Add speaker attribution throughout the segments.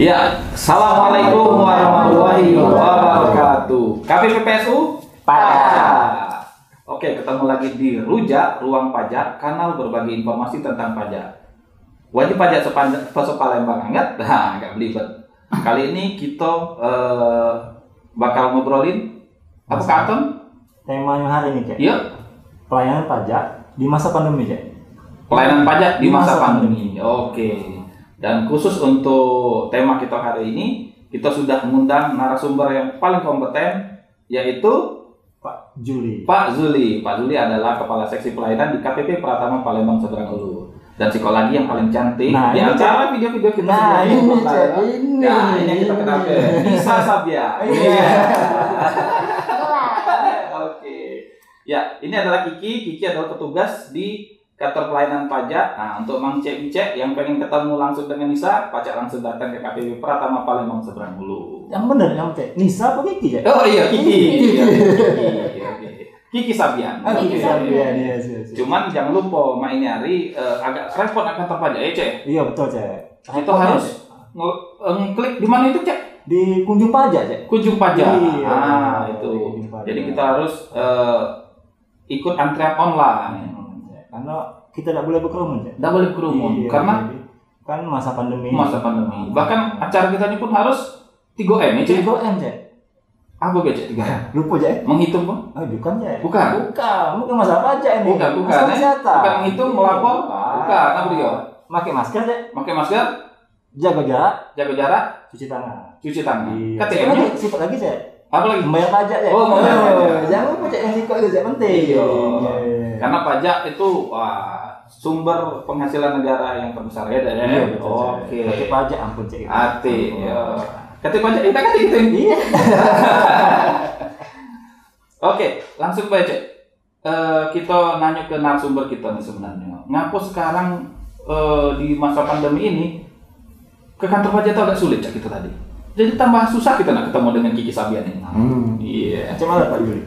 Speaker 1: Ya, Assalamualaikum warahmatullahi wabarakatuh. KPPPSU?
Speaker 2: Pak.
Speaker 1: Oke, ketemu lagi di Rujak Ruang Pajak, kanal berbagi informasi tentang pajak. Wajib pajak sepanjang Palembang hangat, nah, nggak belibet. Kali ini kita eh, bakal ngobrolin apa kanton?
Speaker 2: Temanya hari ini, Cek.
Speaker 1: Iya,
Speaker 2: Pelayanan pajak di masa pandemi, Cek.
Speaker 1: pelayanan pajak di
Speaker 2: Di
Speaker 1: masa
Speaker 2: masa
Speaker 1: pandemi. Oke. Dan khusus untuk tema kita hari ini, kita sudah mengundang narasumber yang paling kompeten yaitu
Speaker 2: Pak Juli.
Speaker 1: Pak Zuli. Pak Zuli adalah kepala seksi pelayanan di KPP Pratama Palembang Seberang Ulu dan psikologi yang paling cantik
Speaker 2: Nah,
Speaker 1: di
Speaker 2: ini,
Speaker 1: acara video-video kita
Speaker 2: Nah,
Speaker 1: sebelumnya.
Speaker 2: ini, Cek. Ini.
Speaker 1: Nah, ini yang kita kenalkan. Nisa Sabia.
Speaker 2: Iya.
Speaker 1: Oke. Ya, ini adalah Kiki. Kiki adalah petugas di kantor pelayanan pajak. Nah, untuk Mang Cek Cek yang pengen ketemu langsung dengan Nisa, pajak langsung datang ke KPP Pratama Palembang Seberang Hulu.
Speaker 2: Yang bener yang Cek. Nisa apa Kiki, Cek?
Speaker 1: Oh iya, Kiki.
Speaker 2: Kiki.
Speaker 1: Iya, Kiki. Oke. Kiki Sabian.
Speaker 2: Ah,
Speaker 1: Oke.
Speaker 2: Kiki Sabian, iya, iya, iya.
Speaker 1: Cuman jangan lupa mainnya hari eh, agak repot akan kantor pajak ya, Cek.
Speaker 2: Iya, betul, Cek.
Speaker 1: Nah, Itu harus nge- eh, ngeklik di mana itu, Cek?
Speaker 2: di kunjung pajak, Cek.
Speaker 1: Kunjung pajak.
Speaker 2: Iya,
Speaker 1: ah,
Speaker 2: iya,
Speaker 1: itu.
Speaker 2: di kunjung pajak.
Speaker 1: Jadi kita harus eh, ikut antrean online.
Speaker 2: Hmm, Cek. Karena kita tidak boleh berkerumun, Cek.
Speaker 1: Nggak boleh kerumun
Speaker 2: Iya,
Speaker 1: karena
Speaker 2: jadi kan masa pandemi.
Speaker 1: masa pandemi. Bahkan acara kita ini pun harus 3M ya, Cek.
Speaker 2: Jadi M, Cek.
Speaker 1: Apa gak, Cek? 3M?
Speaker 2: Lupa, Cek.
Speaker 1: Menghitung pun?
Speaker 2: Oh, bukan, Cek.
Speaker 1: Bukan.
Speaker 2: Bukan, bukan masalah pajak ini.
Speaker 1: Bukan, bukan,
Speaker 2: Masalah
Speaker 1: eh.
Speaker 2: kesehatan.
Speaker 1: Bukan menghitung, melapor.
Speaker 2: Bukan.
Speaker 1: Bukan, apa dia?
Speaker 2: Pakai masker, Cek.
Speaker 1: Pakai masker,
Speaker 2: Jaga jarak,
Speaker 1: jaga jarak,
Speaker 2: cuci tangan.
Speaker 1: cuci tangan.
Speaker 2: Sifat
Speaker 1: KTM-nya
Speaker 2: lagi, sifat lagi, Cek.
Speaker 1: ya. apa lagi?
Speaker 2: Membayar pajak ya.
Speaker 1: Iya. Oh, membayar
Speaker 2: Eh,
Speaker 1: pajak.
Speaker 2: Jangan lupa cek yang sikok itu cek penting.
Speaker 1: Iya. Kan-
Speaker 2: Iya.
Speaker 1: Karena pajak itu wah, sumber penghasilan negara yang terbesar ya, Dek?
Speaker 2: Iya, betul. Cek.
Speaker 1: Oke.
Speaker 2: Pakai pajak ampun cek.
Speaker 1: Ati, ya.
Speaker 2: Ampun.
Speaker 1: Kati pajak kita kati gitu.
Speaker 2: Iya.
Speaker 1: Oke, langsung baca. Eh kita nanya ke narasumber kita nih sebenarnya. Ngapo sekarang eh, di masa pandemi ini ke kantor pajak tuh agak sulit cak kita tadi. Jadi tambah susah kita nak ketemu dengan Kiki Sabian ini. Iya.
Speaker 2: Cek mana Pak Juli?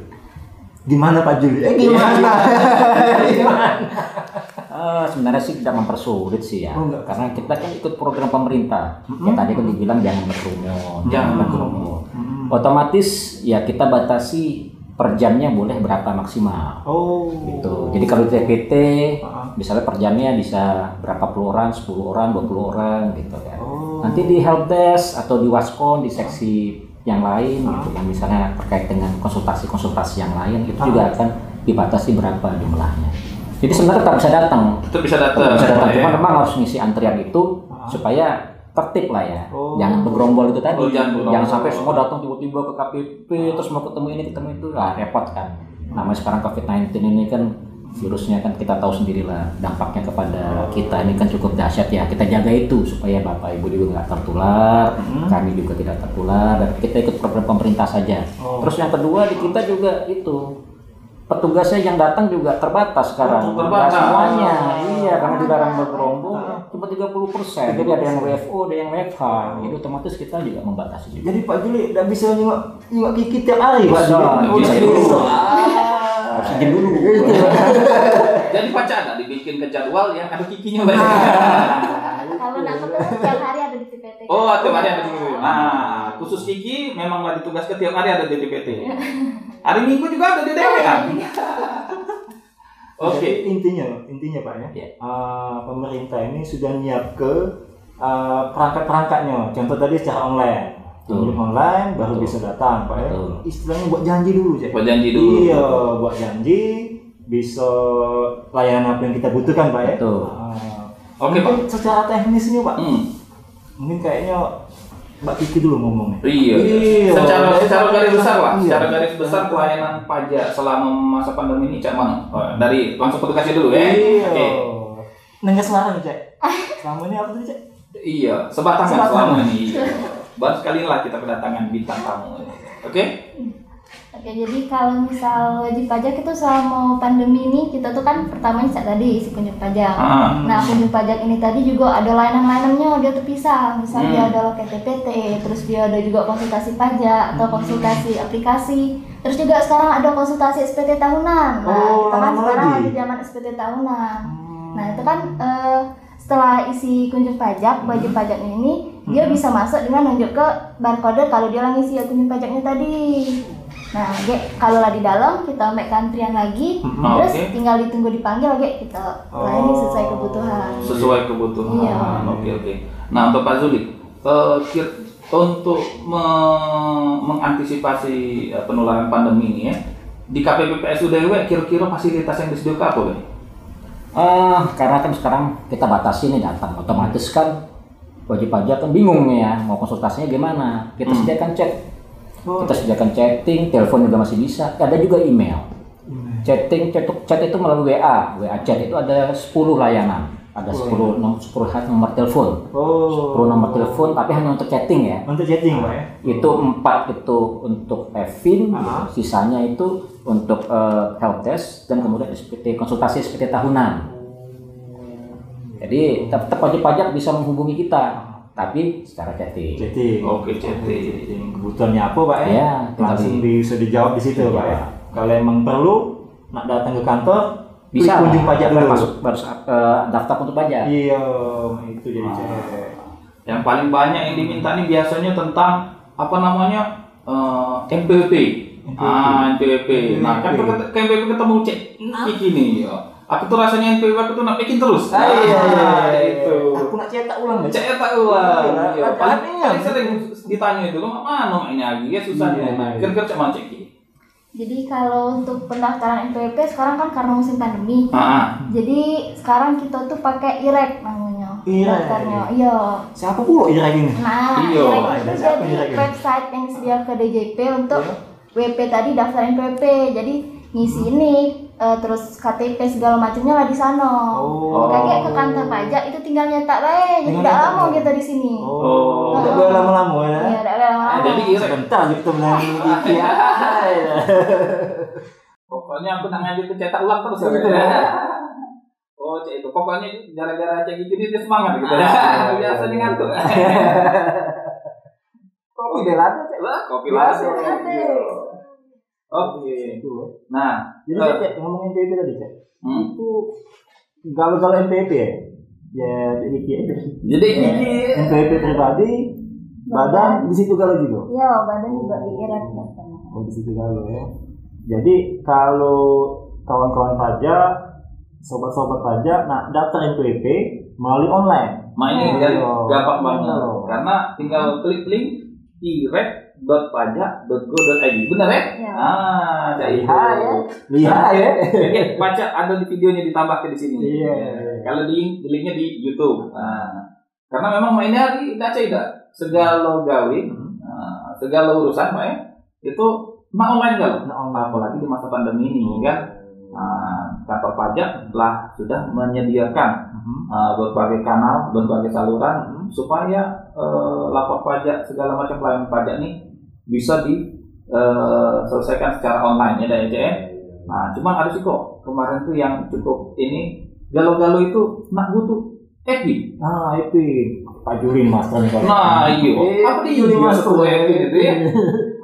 Speaker 2: Gimana Pak Juli? Eh gimana?
Speaker 1: Iya.
Speaker 2: Gimana?
Speaker 3: Eh, sebenarnya sih tidak mempersulit sih ya,
Speaker 2: Oh, enggak.
Speaker 3: karena kita kan ikut program pemerintah.
Speaker 2: Mm-mm.
Speaker 3: Ya tadi kan dibilang jangan berkerumun, jangan
Speaker 1: Mm-mm.
Speaker 3: berkerumun.
Speaker 2: Hmm.
Speaker 3: Otomatis ya kita batasi per jamnya boleh berapa maksimal.
Speaker 2: Oh.
Speaker 3: Gitu. Jadi kalau di TPT,
Speaker 2: Ah.
Speaker 3: misalnya per jamnya bisa berapa puluh orang, 10 orang, 20 orang gitu kan.
Speaker 2: Oh.
Speaker 3: Nanti di helpdesk atau di waskon di seksi yang lain gitu kan, misalnya terkait dengan konsultasi-konsultasi yang lain itu juga akan dibatasi berapa jumlahnya. Jadi sebenarnya tetap bisa datang,
Speaker 1: Tetap bisa
Speaker 3: Tetap
Speaker 1: datang.
Speaker 3: bisa datang.
Speaker 1: ya.
Speaker 3: Cuma memang harus ngisi antrian itu
Speaker 2: Iya. Ah.
Speaker 3: supaya tertib lah ya.
Speaker 2: Oh.
Speaker 3: Jangan bergerombol itu tadi.
Speaker 1: Oh, jangan bergerombol.
Speaker 3: sampai semua datang tiba-tiba ke KPP terus mau ketemu ini ketemu itu lah repot kan.
Speaker 2: Hmm.
Speaker 3: Namanya sekarang COVID-19 ini kan virusnya kan kita tahu sendirilah dampaknya kepada
Speaker 2: Oh.
Speaker 3: kita ini kan cukup dahsyat ya kita jaga itu supaya bapak ibu juga nggak tertular
Speaker 2: Hmm.
Speaker 3: kami juga tidak tertular dan kita ikut program pemerintah saja
Speaker 2: Oh.
Speaker 3: terus yang kedua di kita juga itu petugasnya yang datang juga terbatas
Speaker 1: Oh,
Speaker 3: sekarang
Speaker 2: Nah,
Speaker 1: terbatas.
Speaker 3: Nah, Nggak semuanya iya karena dilarang bergerombol cuma 30 persen jadi ada yang WFO ada yang WFH jadi otomatis kita juga membatasi juga
Speaker 2: Jadi Pak Juli tidak bisa nyengok nyengok kiki tiap hari Pak
Speaker 3: Bisa,
Speaker 2: Juli.
Speaker 3: nggak bisa
Speaker 2: Nggak
Speaker 3: dulu.
Speaker 2: Ah.
Speaker 3: harus izin dulu
Speaker 1: Jadi pajak ada dibikin ke jadwal yang ada kikinya banyak.
Speaker 4: Kalau nak ketemu tiap hari ada di CPT.
Speaker 1: Oh, tiap hari ada DPPT. Nah, khusus Kiki memanglah ditugaskan tiap hari ada DPPT. Hari Minggu juga ada DPPT kan? Oke.
Speaker 2: Jadi intinya intinya Pak ya.
Speaker 3: Iya.
Speaker 2: eh, pemerintah ini sudah nyiap ke eh, perangkat-perangkatnya. Contoh tadi secara online.
Speaker 3: Betul.
Speaker 2: Belum online baru
Speaker 3: Betul.
Speaker 2: bisa datang Pak ya.
Speaker 3: Betul.
Speaker 2: Istilahnya buat janji dulu Cek.
Speaker 1: Buat janji dulu.
Speaker 2: Iya, buat janji bisa layanan apa yang kita butuhkan Pak ya.
Speaker 3: Betul.
Speaker 2: Ah,
Speaker 1: Oke,
Speaker 2: mungkin Secara teknisnya Pak,
Speaker 1: Hmm.
Speaker 2: mungkin kayaknya Mbak Kiki dulu ngomongnya.
Speaker 1: Iya.
Speaker 2: Iya.
Speaker 1: Secara secara garis besar lah,
Speaker 2: Iya.
Speaker 1: secara garis besar pelayanan pajak selama masa pandemi ini cak mana? Oh, Dari langsung petugasnya dulu ya.
Speaker 2: Iya.
Speaker 1: Oke.
Speaker 2: Nanya selarang Cek. Selama ini apa tadi Cek?
Speaker 1: Iya, sebatangan
Speaker 2: Sebatangan.
Speaker 1: selama ini. Iya. Baru sekali lah kita kedatangan bintang tamu. Oke?
Speaker 4: Oke, jadi kalau misal wajib pajak itu selama pandemi ini kita tuh kan pertamanya cak tadi isi kunjung pajak.
Speaker 1: Ah.
Speaker 4: Nah, kunjung pajak ini tadi juga ada layanan-layanannya dia terpisah. Misal dia
Speaker 1: Hmm.
Speaker 4: ada KTPT, terus dia ada juga konsultasi pajak
Speaker 1: Hmm.
Speaker 4: atau konsultasi aplikasi. Terus juga sekarang ada konsultasi SPT tahunan. Nah,
Speaker 2: Oh,
Speaker 4: kita kan
Speaker 2: lama
Speaker 4: sekarang
Speaker 2: lagi.
Speaker 1: Hmm.
Speaker 4: lagi zaman SPT tahunan. Nah, itu kan eh, setelah isi kunjung
Speaker 1: Hmm.
Speaker 4: pajak wajib pajak ini dia bisa masuk dengan nunjuk ke barcode kalau dia orang isi kunjung pajaknya tadi nah Gek, kalau lah di dalam kita make antrian lagi
Speaker 2: Mhm.
Speaker 1: Oh,
Speaker 4: terus
Speaker 1: oke.
Speaker 4: tinggal ditunggu dipanggil Gek, kita layani
Speaker 2: Oh.
Speaker 4: sesuai kebutuhan
Speaker 1: sesuai kebutuhan.
Speaker 4: Iya.
Speaker 1: Oke oke. Nah untuk Pak Zuli, eh, kir- untuk me- mengantisipasi eh, penularan pandemi ini ya, di KPPPS UDW kira-kira fasilitas yang disediakan apa, Bang?
Speaker 3: Eh, karena kan sekarang kita batasi nih datang, otomatis kan wajib pajak kan bingung nih ya mau konsultasinya gimana. Kita
Speaker 1: Hmm.
Speaker 3: sediakan chat,
Speaker 2: Oh.
Speaker 3: kita sediakan chatting, telepon juga masih bisa. Ada juga email. Chatting, chat, chat itu melalui WA, WA chat itu ada 10 layanan, ada 10 nom- 10 hat nomor telepon,
Speaker 2: Oh.
Speaker 3: 10 nomor telepon, tapi hanya untuk chatting ya.
Speaker 2: Untuk chatting pak ya?
Speaker 3: Itu empat itu untuk Evin,
Speaker 2: Ah.
Speaker 3: sisanya itu untuk eh, help helpdesk dan kemudian SPT konsultasi SPT tahunan. Jadi tetap wajib pajak bisa menghubungi kita, tapi secara chatting.
Speaker 2: Chatting.
Speaker 1: Oke, chatting.
Speaker 2: Kebutuhannya apa pak ya?
Speaker 3: Iya, tinggal
Speaker 2: Langsung
Speaker 3: di-
Speaker 2: bisa dijawab di situ
Speaker 3: Iya.
Speaker 2: pak ya. Kalau emang perlu, nak datang ke kantor,
Speaker 3: Bisa
Speaker 2: kunjung
Speaker 3: lah,
Speaker 2: pajak
Speaker 3: tapi
Speaker 2: dulu.
Speaker 3: masuk baru eh, daftar untuk pajak.
Speaker 2: Iya, itu jadi cek.
Speaker 3: Ah.
Speaker 1: Yang paling banyak yang diminta nih biasanya tentang apa namanya eh, NPWP.
Speaker 2: NPWP.
Speaker 1: Ah, NPWP. Nah, kan ke ke NPWP ketemu cek iki nih ya. Aku tuh rasanya NPWP aku tuh nak bikin terus.
Speaker 2: Ah, iya, iya,
Speaker 1: Ah,
Speaker 2: iya.
Speaker 1: itu.
Speaker 2: Aku nak cetak ulang ya.
Speaker 1: Cek tak ulang.
Speaker 2: Iya,
Speaker 1: Iya,
Speaker 2: kan
Speaker 1: paling
Speaker 2: iya.
Speaker 1: paling sering ditanya itu lo mana mainnya lagi ya susah
Speaker 2: Iya,
Speaker 1: ya. Nah,
Speaker 2: iya.
Speaker 1: kira-kira cek mana cek iki.
Speaker 4: jadi kalau untuk pendaftaran NPWP sekarang kan karena musim pandemi
Speaker 1: Heeh.
Speaker 4: jadi sekarang kita tuh pakai irek namanya
Speaker 2: Irek.
Speaker 4: daftarnya iya
Speaker 2: Siapa pula Ira ini?
Speaker 4: Nah,
Speaker 1: Iya.
Speaker 4: Irek itu
Speaker 2: Ada siapa
Speaker 4: jadi
Speaker 2: Irek ini?
Speaker 4: website yang sedia ke DJP untuk
Speaker 2: Iya. Hmm.
Speaker 4: WP tadi daftar NPP. Jadi ngisi ini eh, terus KTP segala macamnya lah di sana.
Speaker 2: Oh.
Speaker 4: Kakek ke kantor pajak itu tinggal nyetak bae, jadi
Speaker 2: Tinggal
Speaker 4: tidak
Speaker 2: nyetak
Speaker 4: lama
Speaker 2: bae.
Speaker 4: kita di sini.
Speaker 2: Oh, udah boleh lama-lama ya.
Speaker 4: Iya, tidak lama-lama.
Speaker 1: Ah, jadi irek.
Speaker 2: Sebentar gitu menangis dikit ya.
Speaker 1: Pokoknya aku nang aja tuh cetak ulang terus
Speaker 2: Iya,
Speaker 1: ya.
Speaker 2: iya.
Speaker 1: Oh, cek itu. Pokoknya gara-gara cek iki ini dia semangat
Speaker 2: Ah,
Speaker 1: gitu.
Speaker 2: iya,
Speaker 1: Biasa nih ngantuk.
Speaker 2: Kopi gelato cek.
Speaker 1: Lah, kopi latte.
Speaker 2: Latte.
Speaker 1: Oke.
Speaker 2: Itu. ya.
Speaker 1: Nah,
Speaker 2: Jadi
Speaker 1: Eh.
Speaker 2: cek ngomong NTP tadi cek.
Speaker 1: hmm.
Speaker 2: Itu galau-galau NTP ya. Ya dikit aja.
Speaker 1: jadi iki
Speaker 2: NTP pribadi, badan di situ galau juga.
Speaker 4: Iya, badan juga di irek daftarnya.
Speaker 2: Oh, di situ galau ya. Jadi kalau kawan-kawan pajak, sobat-sobat pajak, nah daftar NTP melalui online.
Speaker 1: mainnya
Speaker 2: Iya.
Speaker 1: jadi gampang banget
Speaker 2: Iya.
Speaker 1: karena tinggal klik link irek.pajak.go.id. Benar ya?
Speaker 4: Iya.
Speaker 1: Ah, cek itu.
Speaker 2: Lihai
Speaker 1: Nah,
Speaker 2: ya. Lihat ya.
Speaker 1: Oke, baca ada di videonya ditambahkan di sini.
Speaker 2: Iya.
Speaker 1: Kalau di di linknya di YouTube. Nah, karena memang mainnya di Daca Ida. Segala gawe, nah, segala urusan Pak ya, itu mah online kalau.
Speaker 2: Nah, online
Speaker 1: Apalagi di masa pandemi ini kan nah, kantor pajak telah sudah menyediakan
Speaker 2: Mhm.
Speaker 1: eh, berbagai kanal, berbagai saluran hmm,
Speaker 2: Mhm.
Speaker 1: supaya eh, lapor pajak segala macam pelayanan pajak nih bisa diselesaikan secara online ya dari
Speaker 2: Iya.
Speaker 1: ECM. Nah, cuman ada sih kok kemarin tuh yang cukup ini galau-galau itu nak butuh Epi.
Speaker 2: Nah, itu Pak Julin Master nih kalau.
Speaker 1: Nah, iya.
Speaker 2: Eh,
Speaker 1: Apa di Juli Mas tuh Epi gitu ya?
Speaker 2: Iya.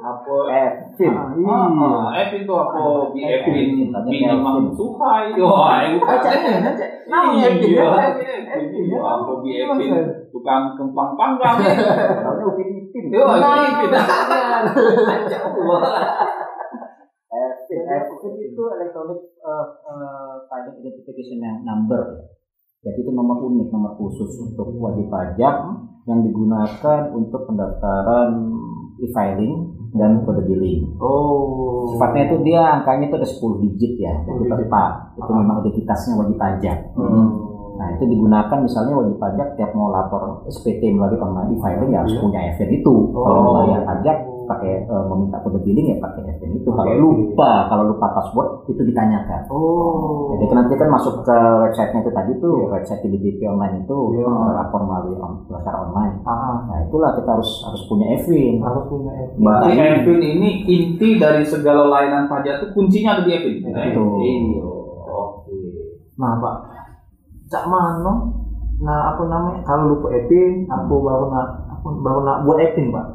Speaker 1: Apa
Speaker 3: Evin.
Speaker 2: Ah,
Speaker 1: Ah,
Speaker 2: iya.
Speaker 1: ah, Epi itu apa di Epi
Speaker 3: Tapi
Speaker 1: bini
Speaker 3: Epi.
Speaker 1: Mang Suhai. Wah, kan yang
Speaker 2: Baca
Speaker 1: bukan.
Speaker 2: ini, baca. Nah,
Speaker 1: Iya,
Speaker 2: Epi, ya.
Speaker 1: Epi, Epi.
Speaker 2: Epi, ya.
Speaker 1: Apa di
Speaker 2: Iya,
Speaker 1: Epi
Speaker 2: Mas.
Speaker 1: tukang kempang panggang. ya?
Speaker 2: Lalu Upin Ipin.
Speaker 1: Yo,
Speaker 2: Nah,
Speaker 1: ini kita.
Speaker 3: Evin. Evin itu electronic eh, eh, pajak identification number. Jadi itu nomor unik, nomor khusus untuk wajib pajak
Speaker 2: Hmm.
Speaker 3: yang digunakan untuk pendaftaran e-filing dan kode billing.
Speaker 2: Oh.
Speaker 3: Sifatnya itu dia angkanya itu ada 10 digit ya, itu
Speaker 2: 10 digit. Ah.
Speaker 3: tetap. Itu memang identitasnya wajib pajak.
Speaker 2: Hmm.
Speaker 3: Nah itu digunakan misalnya wajib pajak tiap mau lapor SPT melalui online e-filing ya harus
Speaker 2: Iya.
Speaker 3: punya FN itu. Kalau
Speaker 2: Oh.
Speaker 3: mau bayar pajak pakai eh, meminta kode billing ya pakai FN itu. Kalau
Speaker 2: Pakai
Speaker 3: lupa kalau lupa password itu ditanyakan.
Speaker 2: Oh.
Speaker 3: Jadi nanti kan masuk ke websitenya itu tadi tuh website di DP online itu
Speaker 2: Iya.
Speaker 3: eh, lapor melalui on, secara online.
Speaker 2: Ah,
Speaker 3: Nah itulah kita harus harus punya Evin.
Speaker 2: harus punya Epi.
Speaker 3: Mbak.
Speaker 1: Berarti Evin ini inti dari segala layanan pajak itu kuncinya ada di Evin.
Speaker 3: Betul.
Speaker 1: Iya. Oke.
Speaker 2: Nah, Pak. Cak Mano. Nah, apa namanya? Kalau lupa Epin, aku baru nak aku baru nak buat Epin, Pak.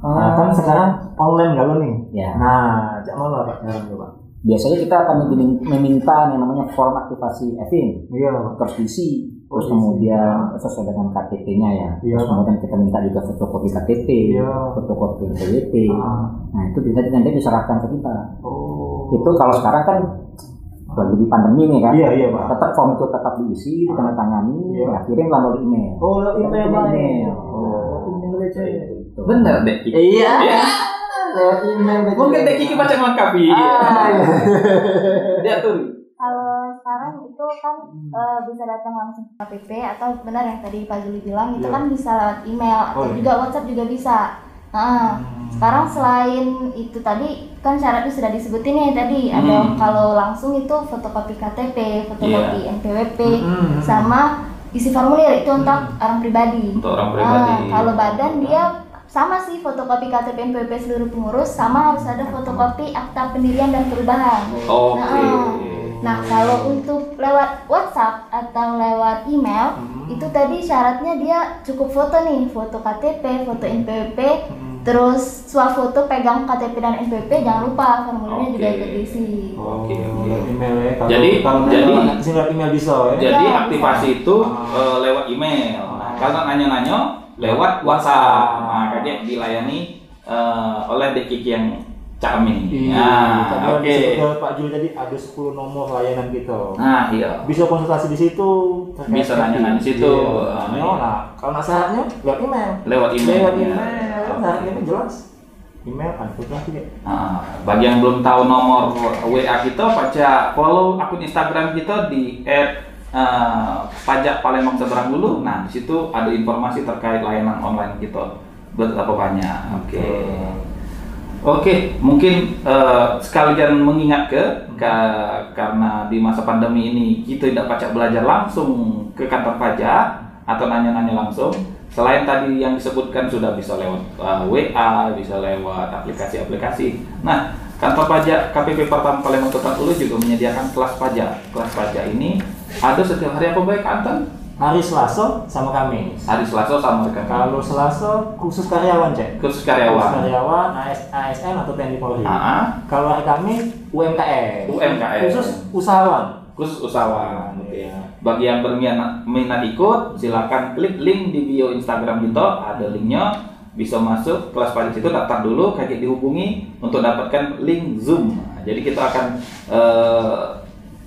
Speaker 2: Nah, kan sekarang online galau nih.
Speaker 3: Ya.
Speaker 2: Nah, Cak Mano Pak, sekarang ya, Pak.
Speaker 3: Biasanya kita akan memin- meminta yang namanya form aktivasi Evin
Speaker 2: Iya, Pak.
Speaker 3: terus diisi. terus kemudian sesuai dengan KTP-nya ya
Speaker 2: Iya.
Speaker 3: terus kemudian kita minta juga fotokopi KTP
Speaker 2: Iya.
Speaker 3: fotokopi NPWP
Speaker 2: Ah.
Speaker 3: nah itu bisa nanti diserahkan ke kita
Speaker 2: Oh.
Speaker 3: itu kalau sekarang kan lagi di pandemi nih kan
Speaker 2: Iya iya pak.
Speaker 3: tetap form itu tetap diisi ditandatangani
Speaker 2: Iya.
Speaker 3: nah, kirim melalui email
Speaker 2: Oh lo
Speaker 3: Kita
Speaker 2: email
Speaker 3: punya
Speaker 2: pak.
Speaker 3: email.
Speaker 2: Oh email aja ya.
Speaker 3: Gitu.
Speaker 1: Bener deh. Kiki.
Speaker 2: Iya.
Speaker 1: Iya.
Speaker 2: Lewat email aja.
Speaker 1: Mungkin deh Kiki baca melengkapi.
Speaker 2: Ah, iya.
Speaker 1: Dia tuh.
Speaker 4: Kalau sekarang itu kan eh, bisa datang langsung ke KPP atau benar yang tadi Pak Juli bilang itu
Speaker 2: Iya.
Speaker 4: kan bisa lewat email atau
Speaker 2: Oh, iya. Hmm.
Speaker 4: juga WhatsApp juga bisa. Nah, sekarang selain itu tadi kan syaratnya sudah disebutin ya tadi ada
Speaker 1: Hmm.
Speaker 4: kalau langsung itu fotokopi KTP, fotokopi NPWP
Speaker 2: Iya. Hmm.
Speaker 4: sama isi formulir itu untuk orang pribadi.
Speaker 1: Untuk orang
Speaker 4: Ah,
Speaker 1: pribadi.
Speaker 4: kalau badan dia sama sih fotokopi KTP NPWP seluruh pengurus sama harus ada fotokopi akta pendirian dan perubahan.
Speaker 1: Oke. Oh.
Speaker 4: Ah, Nah, kalau untuk lewat WhatsApp atau lewat email,
Speaker 1: Hmm.
Speaker 4: itu tadi syaratnya dia cukup foto nih, foto KTP, foto
Speaker 1: Hmm.
Speaker 4: NPWP, terus swafoto pegang KTP dan NPWP, jangan lupa formulirnya juga
Speaker 1: Oke. Oh.
Speaker 4: ikut diisi.
Speaker 1: Oke, oke.
Speaker 2: Lewat email ya. Kalau-
Speaker 1: Jadi-
Speaker 2: kalau
Speaker 1: jadi-
Speaker 2: nanya, sih lewat email bisa ya.
Speaker 1: Jadi
Speaker 4: Ya,
Speaker 1: aktivasi itu eh, lewat email. Nah, kalau nanya-nanya lewat WhatsApp. Nah, kayaknya dilayani eh, oleh Dek Kiki yang Cami.
Speaker 2: Tadi
Speaker 1: Nah,
Speaker 2: Iya, yang
Speaker 1: oke.
Speaker 2: disebut Pak Juli tadi ada 10 nomor layanan kita.
Speaker 1: Nah, iya.
Speaker 2: Bisa konsultasi di situ. terkait
Speaker 1: Bisa
Speaker 2: happy.
Speaker 1: nanya-nanya di situ.
Speaker 2: Iya.
Speaker 1: Ah, iya.
Speaker 2: Nah, kalau nak syaratnya lewat email.
Speaker 1: Lewat email. iya.
Speaker 2: Lewat email.
Speaker 1: Oke.
Speaker 2: Syaratnya kan jelas. Email ada fotografi ya.
Speaker 1: Nah, bagi yang belum tahu nomor WA kita, pajak follow akun Instagram kita di eh, pajak Palembang Seberang dulu. Nah, di situ ada informasi terkait layanan online kita betapa banyak. Oke. Oke, mungkin eh, sekalian mengingat ke, ka- karena di masa pandemi ini kita tidak pajak belajar langsung ke kantor pajak atau nanya-nanya langsung. Selain tadi yang disebutkan sudah bisa lewat eh, WA, bisa lewat aplikasi-aplikasi. Nah, kantor pajak KPP Pertama Palembang Kota Ulu juga menyediakan kelas pajak. Kelas pajak ini ada setiap hari apa baik Anton?
Speaker 2: Hari Selasa sama Kamis.
Speaker 1: Hari Selasa sama rekan
Speaker 2: Kalau Selasa khusus karyawan cek.
Speaker 1: kursus
Speaker 2: Khusus
Speaker 1: karyawan.
Speaker 2: karyawan AS, ASN atau TNI Polri.
Speaker 1: Ah,
Speaker 2: Kalau hari Kamis UMKM.
Speaker 1: UMKM.
Speaker 2: Khusus usahawan.
Speaker 1: khusus usahawan.
Speaker 2: Iya.
Speaker 1: Oke. gitu ya. Bagi yang berminat minat ikut, silakan klik link di bio Instagram kita, ada linknya. Bisa masuk kelas pajak itu daftar dulu, kaget dihubungi untuk dapatkan link Zoom. Nah, Jadi kita akan eh,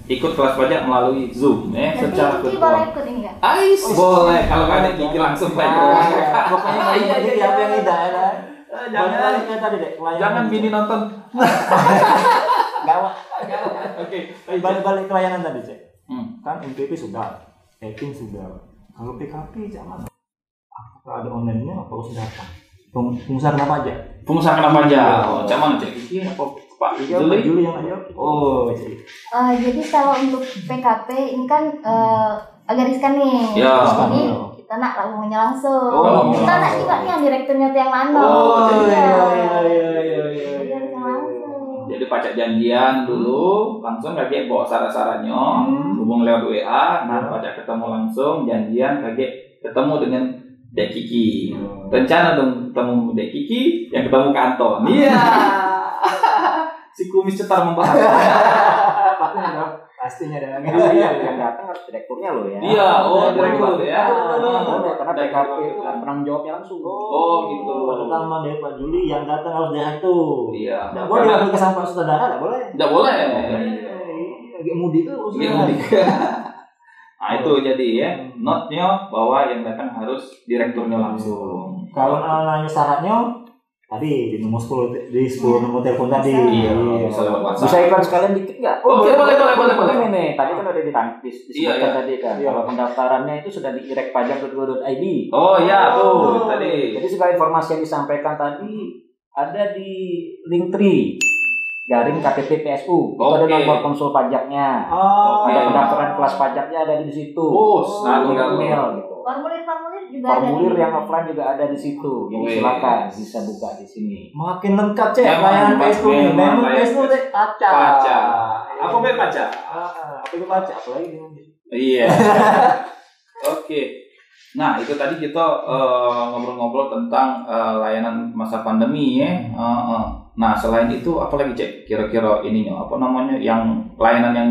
Speaker 1: ikut kelas pajak melalui Zoom ya,
Speaker 4: Nanti
Speaker 1: secara
Speaker 4: Kiki boleh
Speaker 1: virtual.
Speaker 4: ikut ini nggak?
Speaker 1: Ais boleh kalau ada gigi langsung pajak.
Speaker 2: Ah, Pokoknya nggak ada yang tidak yang tidak ada. Ah,
Speaker 1: Jangan
Speaker 2: Balik-balik kayak tadi deh. layanan
Speaker 1: jangan
Speaker 2: cek.
Speaker 1: bini nonton.
Speaker 2: Nggak, Pak.
Speaker 1: Oke.
Speaker 2: Balik-balik ke layanan tadi cek.
Speaker 1: Hmm.
Speaker 2: Kan MPP sudah, acting sudah. Kalau PKP jangan. Apakah ada online-nya atau harus datang? Peng- Pengusaha kenapa aja?
Speaker 1: Pengusaha kenapa aja? Oh, cak mana cek? Gigi apa Pak
Speaker 2: Juli
Speaker 1: Juli?
Speaker 2: Juli yang aja. Oh, cek.
Speaker 4: Eh, jadi kalau untuk PKP ini kan eh, agak riskan nih.
Speaker 1: Ya.
Speaker 4: Jadi kita nak lah ngomongnya langsung.
Speaker 1: Oh,
Speaker 4: kita
Speaker 1: ngomongnya
Speaker 4: nak
Speaker 1: langsung.
Speaker 4: ingat yang direkturnya tuh yang mana.
Speaker 1: Oh,
Speaker 2: iya, iya, iya, iya, iya,
Speaker 4: Jadi harus yang langsung.
Speaker 1: Jadi pajak janjian dulu, langsung kakek bawa saran-sarannya,
Speaker 4: Hmm.
Speaker 1: hubung lewat WA, nah
Speaker 2: Hmm.
Speaker 1: pajak ketemu langsung, janjian kakek ketemu dengan Dek Kiki. Rencana dong ketemu Dek Kiki, yang ketemu Kak Anton. Iya. si kumis cetar membahas.
Speaker 2: Pastinya dong. kan, Pastinya dong.
Speaker 3: Iya, yang datang harus direkturnya loh ya
Speaker 1: Iya, oh direktur ya.
Speaker 3: karena PKP itu kan penanggung jawabnya langsung
Speaker 1: Oh gitu.
Speaker 2: Pertama dari Pak Juli yang datang harus direktur.
Speaker 1: Iya.
Speaker 2: Tidak boleh
Speaker 1: Karena-
Speaker 2: diambil ke sampah sutradara, tidak boleh.
Speaker 1: Nggak boleh.
Speaker 2: Lagi mudik tuh Iya.
Speaker 1: Ini unik. Iya. Nah itu jadi ya, notnya bahwa yang datang harus direkturnya langsung.
Speaker 2: Kalau nanya syaratnya tadi di nomor 10 di 10 nomor telepon tadi.
Speaker 4: Iya,
Speaker 1: bisa lewat WhatsApp.
Speaker 3: bisa iklan sekalian dikit nggak?
Speaker 1: Oke, Nah, Oh, boleh, boleh, boleh, boleh.
Speaker 3: Ini nih, tadi kan udah ditangkis, disebutkan
Speaker 1: Iya, iya.
Speaker 3: tadi kan.
Speaker 2: Iya.
Speaker 3: Kalau pendaftarannya itu sudah di direkpajak.go.id.
Speaker 1: Oh iya
Speaker 2: Oh.
Speaker 1: tuh tadi.
Speaker 3: Jadi segala informasi yang disampaikan tadi ada di Linktree garing KTP PSU. Itu ada
Speaker 1: Oke.
Speaker 3: nomor konsul pajaknya.
Speaker 2: Oh,
Speaker 1: Oke.
Speaker 3: Ada pendaftaran kelas pajaknya ada di situ.
Speaker 1: Oh,
Speaker 3: Ada
Speaker 1: selalu kalau-
Speaker 3: email gitu.
Speaker 4: Formulir-formulir juga ada.
Speaker 3: Formulir
Speaker 4: nih.
Speaker 3: yang offline juga ada di situ.
Speaker 1: Wih.
Speaker 3: Jadi silakan bisa buka di sini.
Speaker 2: makin lengkap cek
Speaker 1: Memang,
Speaker 2: layanan
Speaker 1: memang,
Speaker 2: Facebook ini.
Speaker 1: memang,
Speaker 2: Memang
Speaker 1: layanan
Speaker 2: Facebook cek kaca.
Speaker 1: Kaca. Apa bed kaca?
Speaker 2: Ah, Apa itu kaca? Apa lagi?
Speaker 1: Iya. Oke. Nah itu tadi kita eh, ngobrol-ngobrol tentang eh, layanan masa pandemi ya. Eh, eh. Nah selain itu apa lagi cek? Kira-kira ininya apa namanya yang layanan yang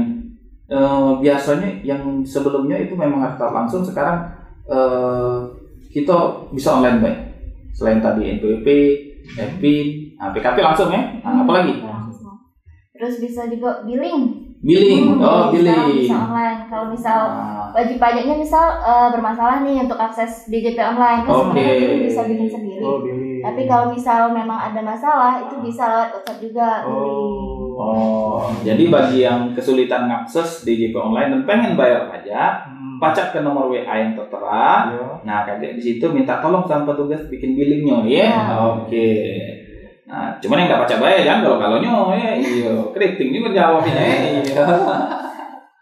Speaker 1: eh, biasanya yang sebelumnya itu memang harus tatap langsung sekarang eh, kita bisa online baik selain tadi NPWP, FPIN, nah, PKP langsung ya,
Speaker 4: Hmm,
Speaker 1: nah, apalagi
Speaker 4: Langsung. Terus bisa juga billing.
Speaker 1: billing,
Speaker 4: Hmm,
Speaker 1: oh
Speaker 4: jadi sekarang
Speaker 1: billing,
Speaker 4: Bisa online. Kalau misal
Speaker 1: Nah,
Speaker 4: wajib pajaknya misal eh, bermasalah nih untuk akses DJP online kan sebenarnya
Speaker 1: Oke.
Speaker 4: itu bisa bikin sendiri.
Speaker 2: Oh, Billy.
Speaker 4: Tapi kalau misal memang ada masalah itu bisa lewat WhatsApp juga.
Speaker 2: Oh.
Speaker 1: Nah. Oh, jadi bagi yang kesulitan mengakses DJP online dan pengen bayar pajak,
Speaker 2: Hmm.
Speaker 1: pajak ke nomor WA yang tertera.
Speaker 2: Ya.
Speaker 1: Nah, kakek di situ minta tolong sama petugas bikin billingnya, ya.
Speaker 4: Ya.
Speaker 1: Oke. Nah, cuman yang nggak pajak bayar jangan kalau kalau nyo, ya. Iya, keriting juga jawabnya. ya. Iya.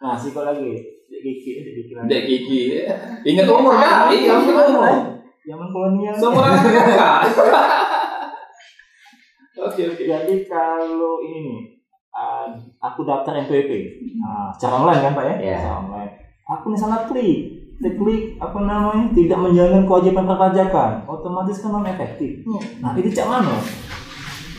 Speaker 2: Nah, sih kok lagi. Sedikit, sedikit lagi. Ah,
Speaker 1: Dek Kiki. ya. Ingat umur kak? Iya, ingat umur.
Speaker 2: Zaman kolonial.
Speaker 1: Seumur anak kakak. Oke, oke.
Speaker 2: Jadi kalau ini nih, uh, aku daftar NPWP, nah, secara online kan Pak ya?
Speaker 3: Iya.
Speaker 2: Secara online. Aku nih salah klik, Saya klik apa namanya tidak menjalankan kewajiban perpajakan, otomatis kan non efektif.
Speaker 4: Iya.
Speaker 2: Nah itu cak mana?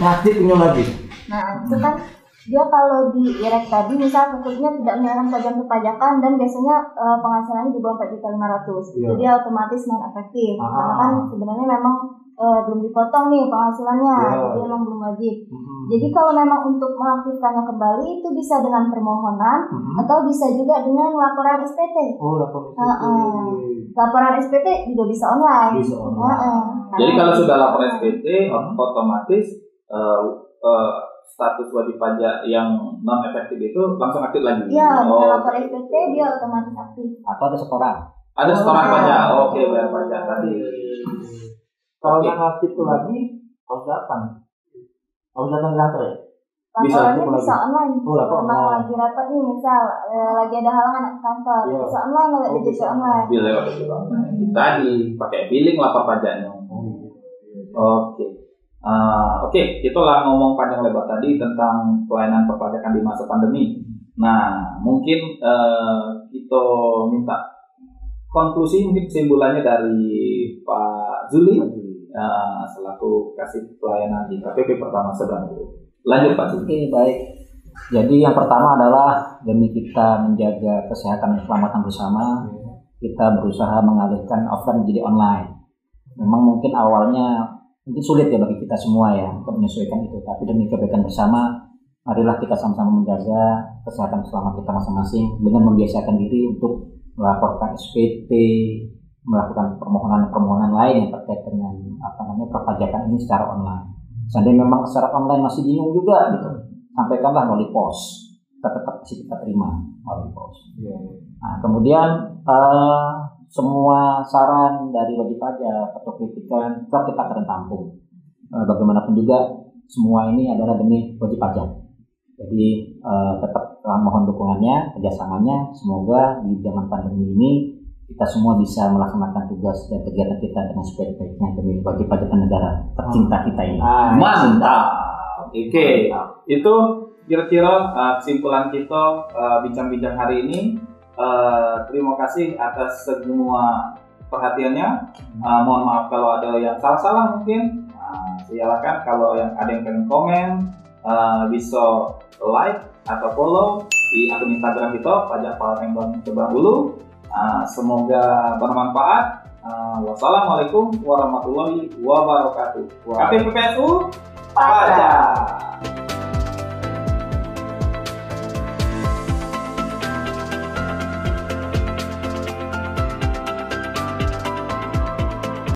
Speaker 2: Ngaktif punya lagi.
Speaker 4: Nah, itu kan dia kalau di IREK tadi misal khususnya tidak menyerahkan pajak perpajakan dan biasanya eh, penghasilannya di bawah 4.500.
Speaker 2: Iya.
Speaker 4: Itu dia otomatis non efektif.
Speaker 2: Ah.
Speaker 4: Karena kan sebenarnya memang eh, belum dipotong nih penghasilannya.
Speaker 2: Iya.
Speaker 4: Jadi memang belum wajib.
Speaker 2: Hmm.
Speaker 4: Jadi kalau memang untuk mengaktifkannya kembali itu bisa dengan permohonan
Speaker 2: Hmm.
Speaker 4: atau bisa juga dengan laporan SPT.
Speaker 2: Oh lapor
Speaker 4: Ah, ah. Laporan SPT juga bisa online.
Speaker 2: Bisa online.
Speaker 4: Heeh.
Speaker 1: Jadi
Speaker 4: Karena- Hmm.
Speaker 1: kalau sudah lapor SPT, otomatis eh, eh, status wajib pajak yang non efektif itu langsung aktif lagi.
Speaker 4: Iya, dengan
Speaker 1: Oh,
Speaker 4: lapor SPT dia otomatis aktif.
Speaker 3: atau ada setoran
Speaker 1: ada setoran
Speaker 4: Oh.
Speaker 1: pajak.
Speaker 2: Ah,
Speaker 1: Oke, bayar pajak tadi.
Speaker 2: Kalau
Speaker 1: Oke.
Speaker 2: nggak ngaktif tuh lagi, harus datang. Harus datang ke kantor ya?
Speaker 1: Bisa,
Speaker 4: Laporannya
Speaker 2: cukup
Speaker 4: bisa online.
Speaker 2: Oh lapor
Speaker 4: Memang
Speaker 2: online.
Speaker 4: lagi rapat nih misal eh, lagi ada halangan ke kantor,
Speaker 2: Iya.
Speaker 4: bisa online lewat
Speaker 2: Oh,
Speaker 4: DJP
Speaker 2: bisa.
Speaker 4: online.
Speaker 1: Bila lewat setoran.
Speaker 4: Hmm.
Speaker 1: Tadi pakai billing lapor pajaknya.
Speaker 2: Oh, iya.
Speaker 1: Oke. Ah, Oke, kita lah ngomong panjang lebar tadi tentang pelayanan perpajakan di masa pandemi. Nah, mungkin eh, kita minta konklusi mungkin kesimpulannya dari Pak Zuli eh, selaku kasih pelayanan di KPP pertama seberang Guru. Lanjut Pak Zuli.
Speaker 3: oke baik jadi yang pertama adalah demi kita menjaga kesehatan dan keselamatan bersama kita berusaha mengalihkan offline menjadi online memang mungkin awalnya mungkin sulit ya bagi kita semua ya untuk menyesuaikan itu tapi demi kebaikan bersama marilah kita sama-sama menjaga kesehatan dan keselamatan kita masing-masing dengan membiasakan diri untuk melaporkan SPT melakukan permohonan-permohonan lain yang terkait dengan apa namanya perpajakan ini secara online seandainya memang secara online masih bingung juga gitu sampaikanlah melalui pos kita tetap masih kita terima melalui pos
Speaker 2: Iya.
Speaker 3: nah, kemudian eh, semua saran dari wajib pajak atau kritikan tetap kita akan tampung Eh, bagaimanapun juga semua ini adalah demi wajib pajak jadi eh, tetap eh, mohon dukungannya kerjasamanya semoga di zaman pandemi ini kita semua bisa melaksanakan tugas dan kegiatan kita dengan sebaik-baiknya demi wajib pajak negara tercinta kita ini
Speaker 2: Ah,
Speaker 1: Mantap. Oke. itu kira-kira uh, kesimpulan kita uh, bincang-bincang hari ini. Uh, terima kasih atas semua perhatiannya. Uh, mohon maaf kalau ada yang salah-salah mungkin. Uh, silakan kalau yang ada yang pengen komen uh, bisa like atau follow di akun Instagram kita pajak Palembang coba dulu. Uh, semoga bermanfaat. Uh, wassalamualaikum warahmatullahi wabarakatuh. KPPPSU pajak.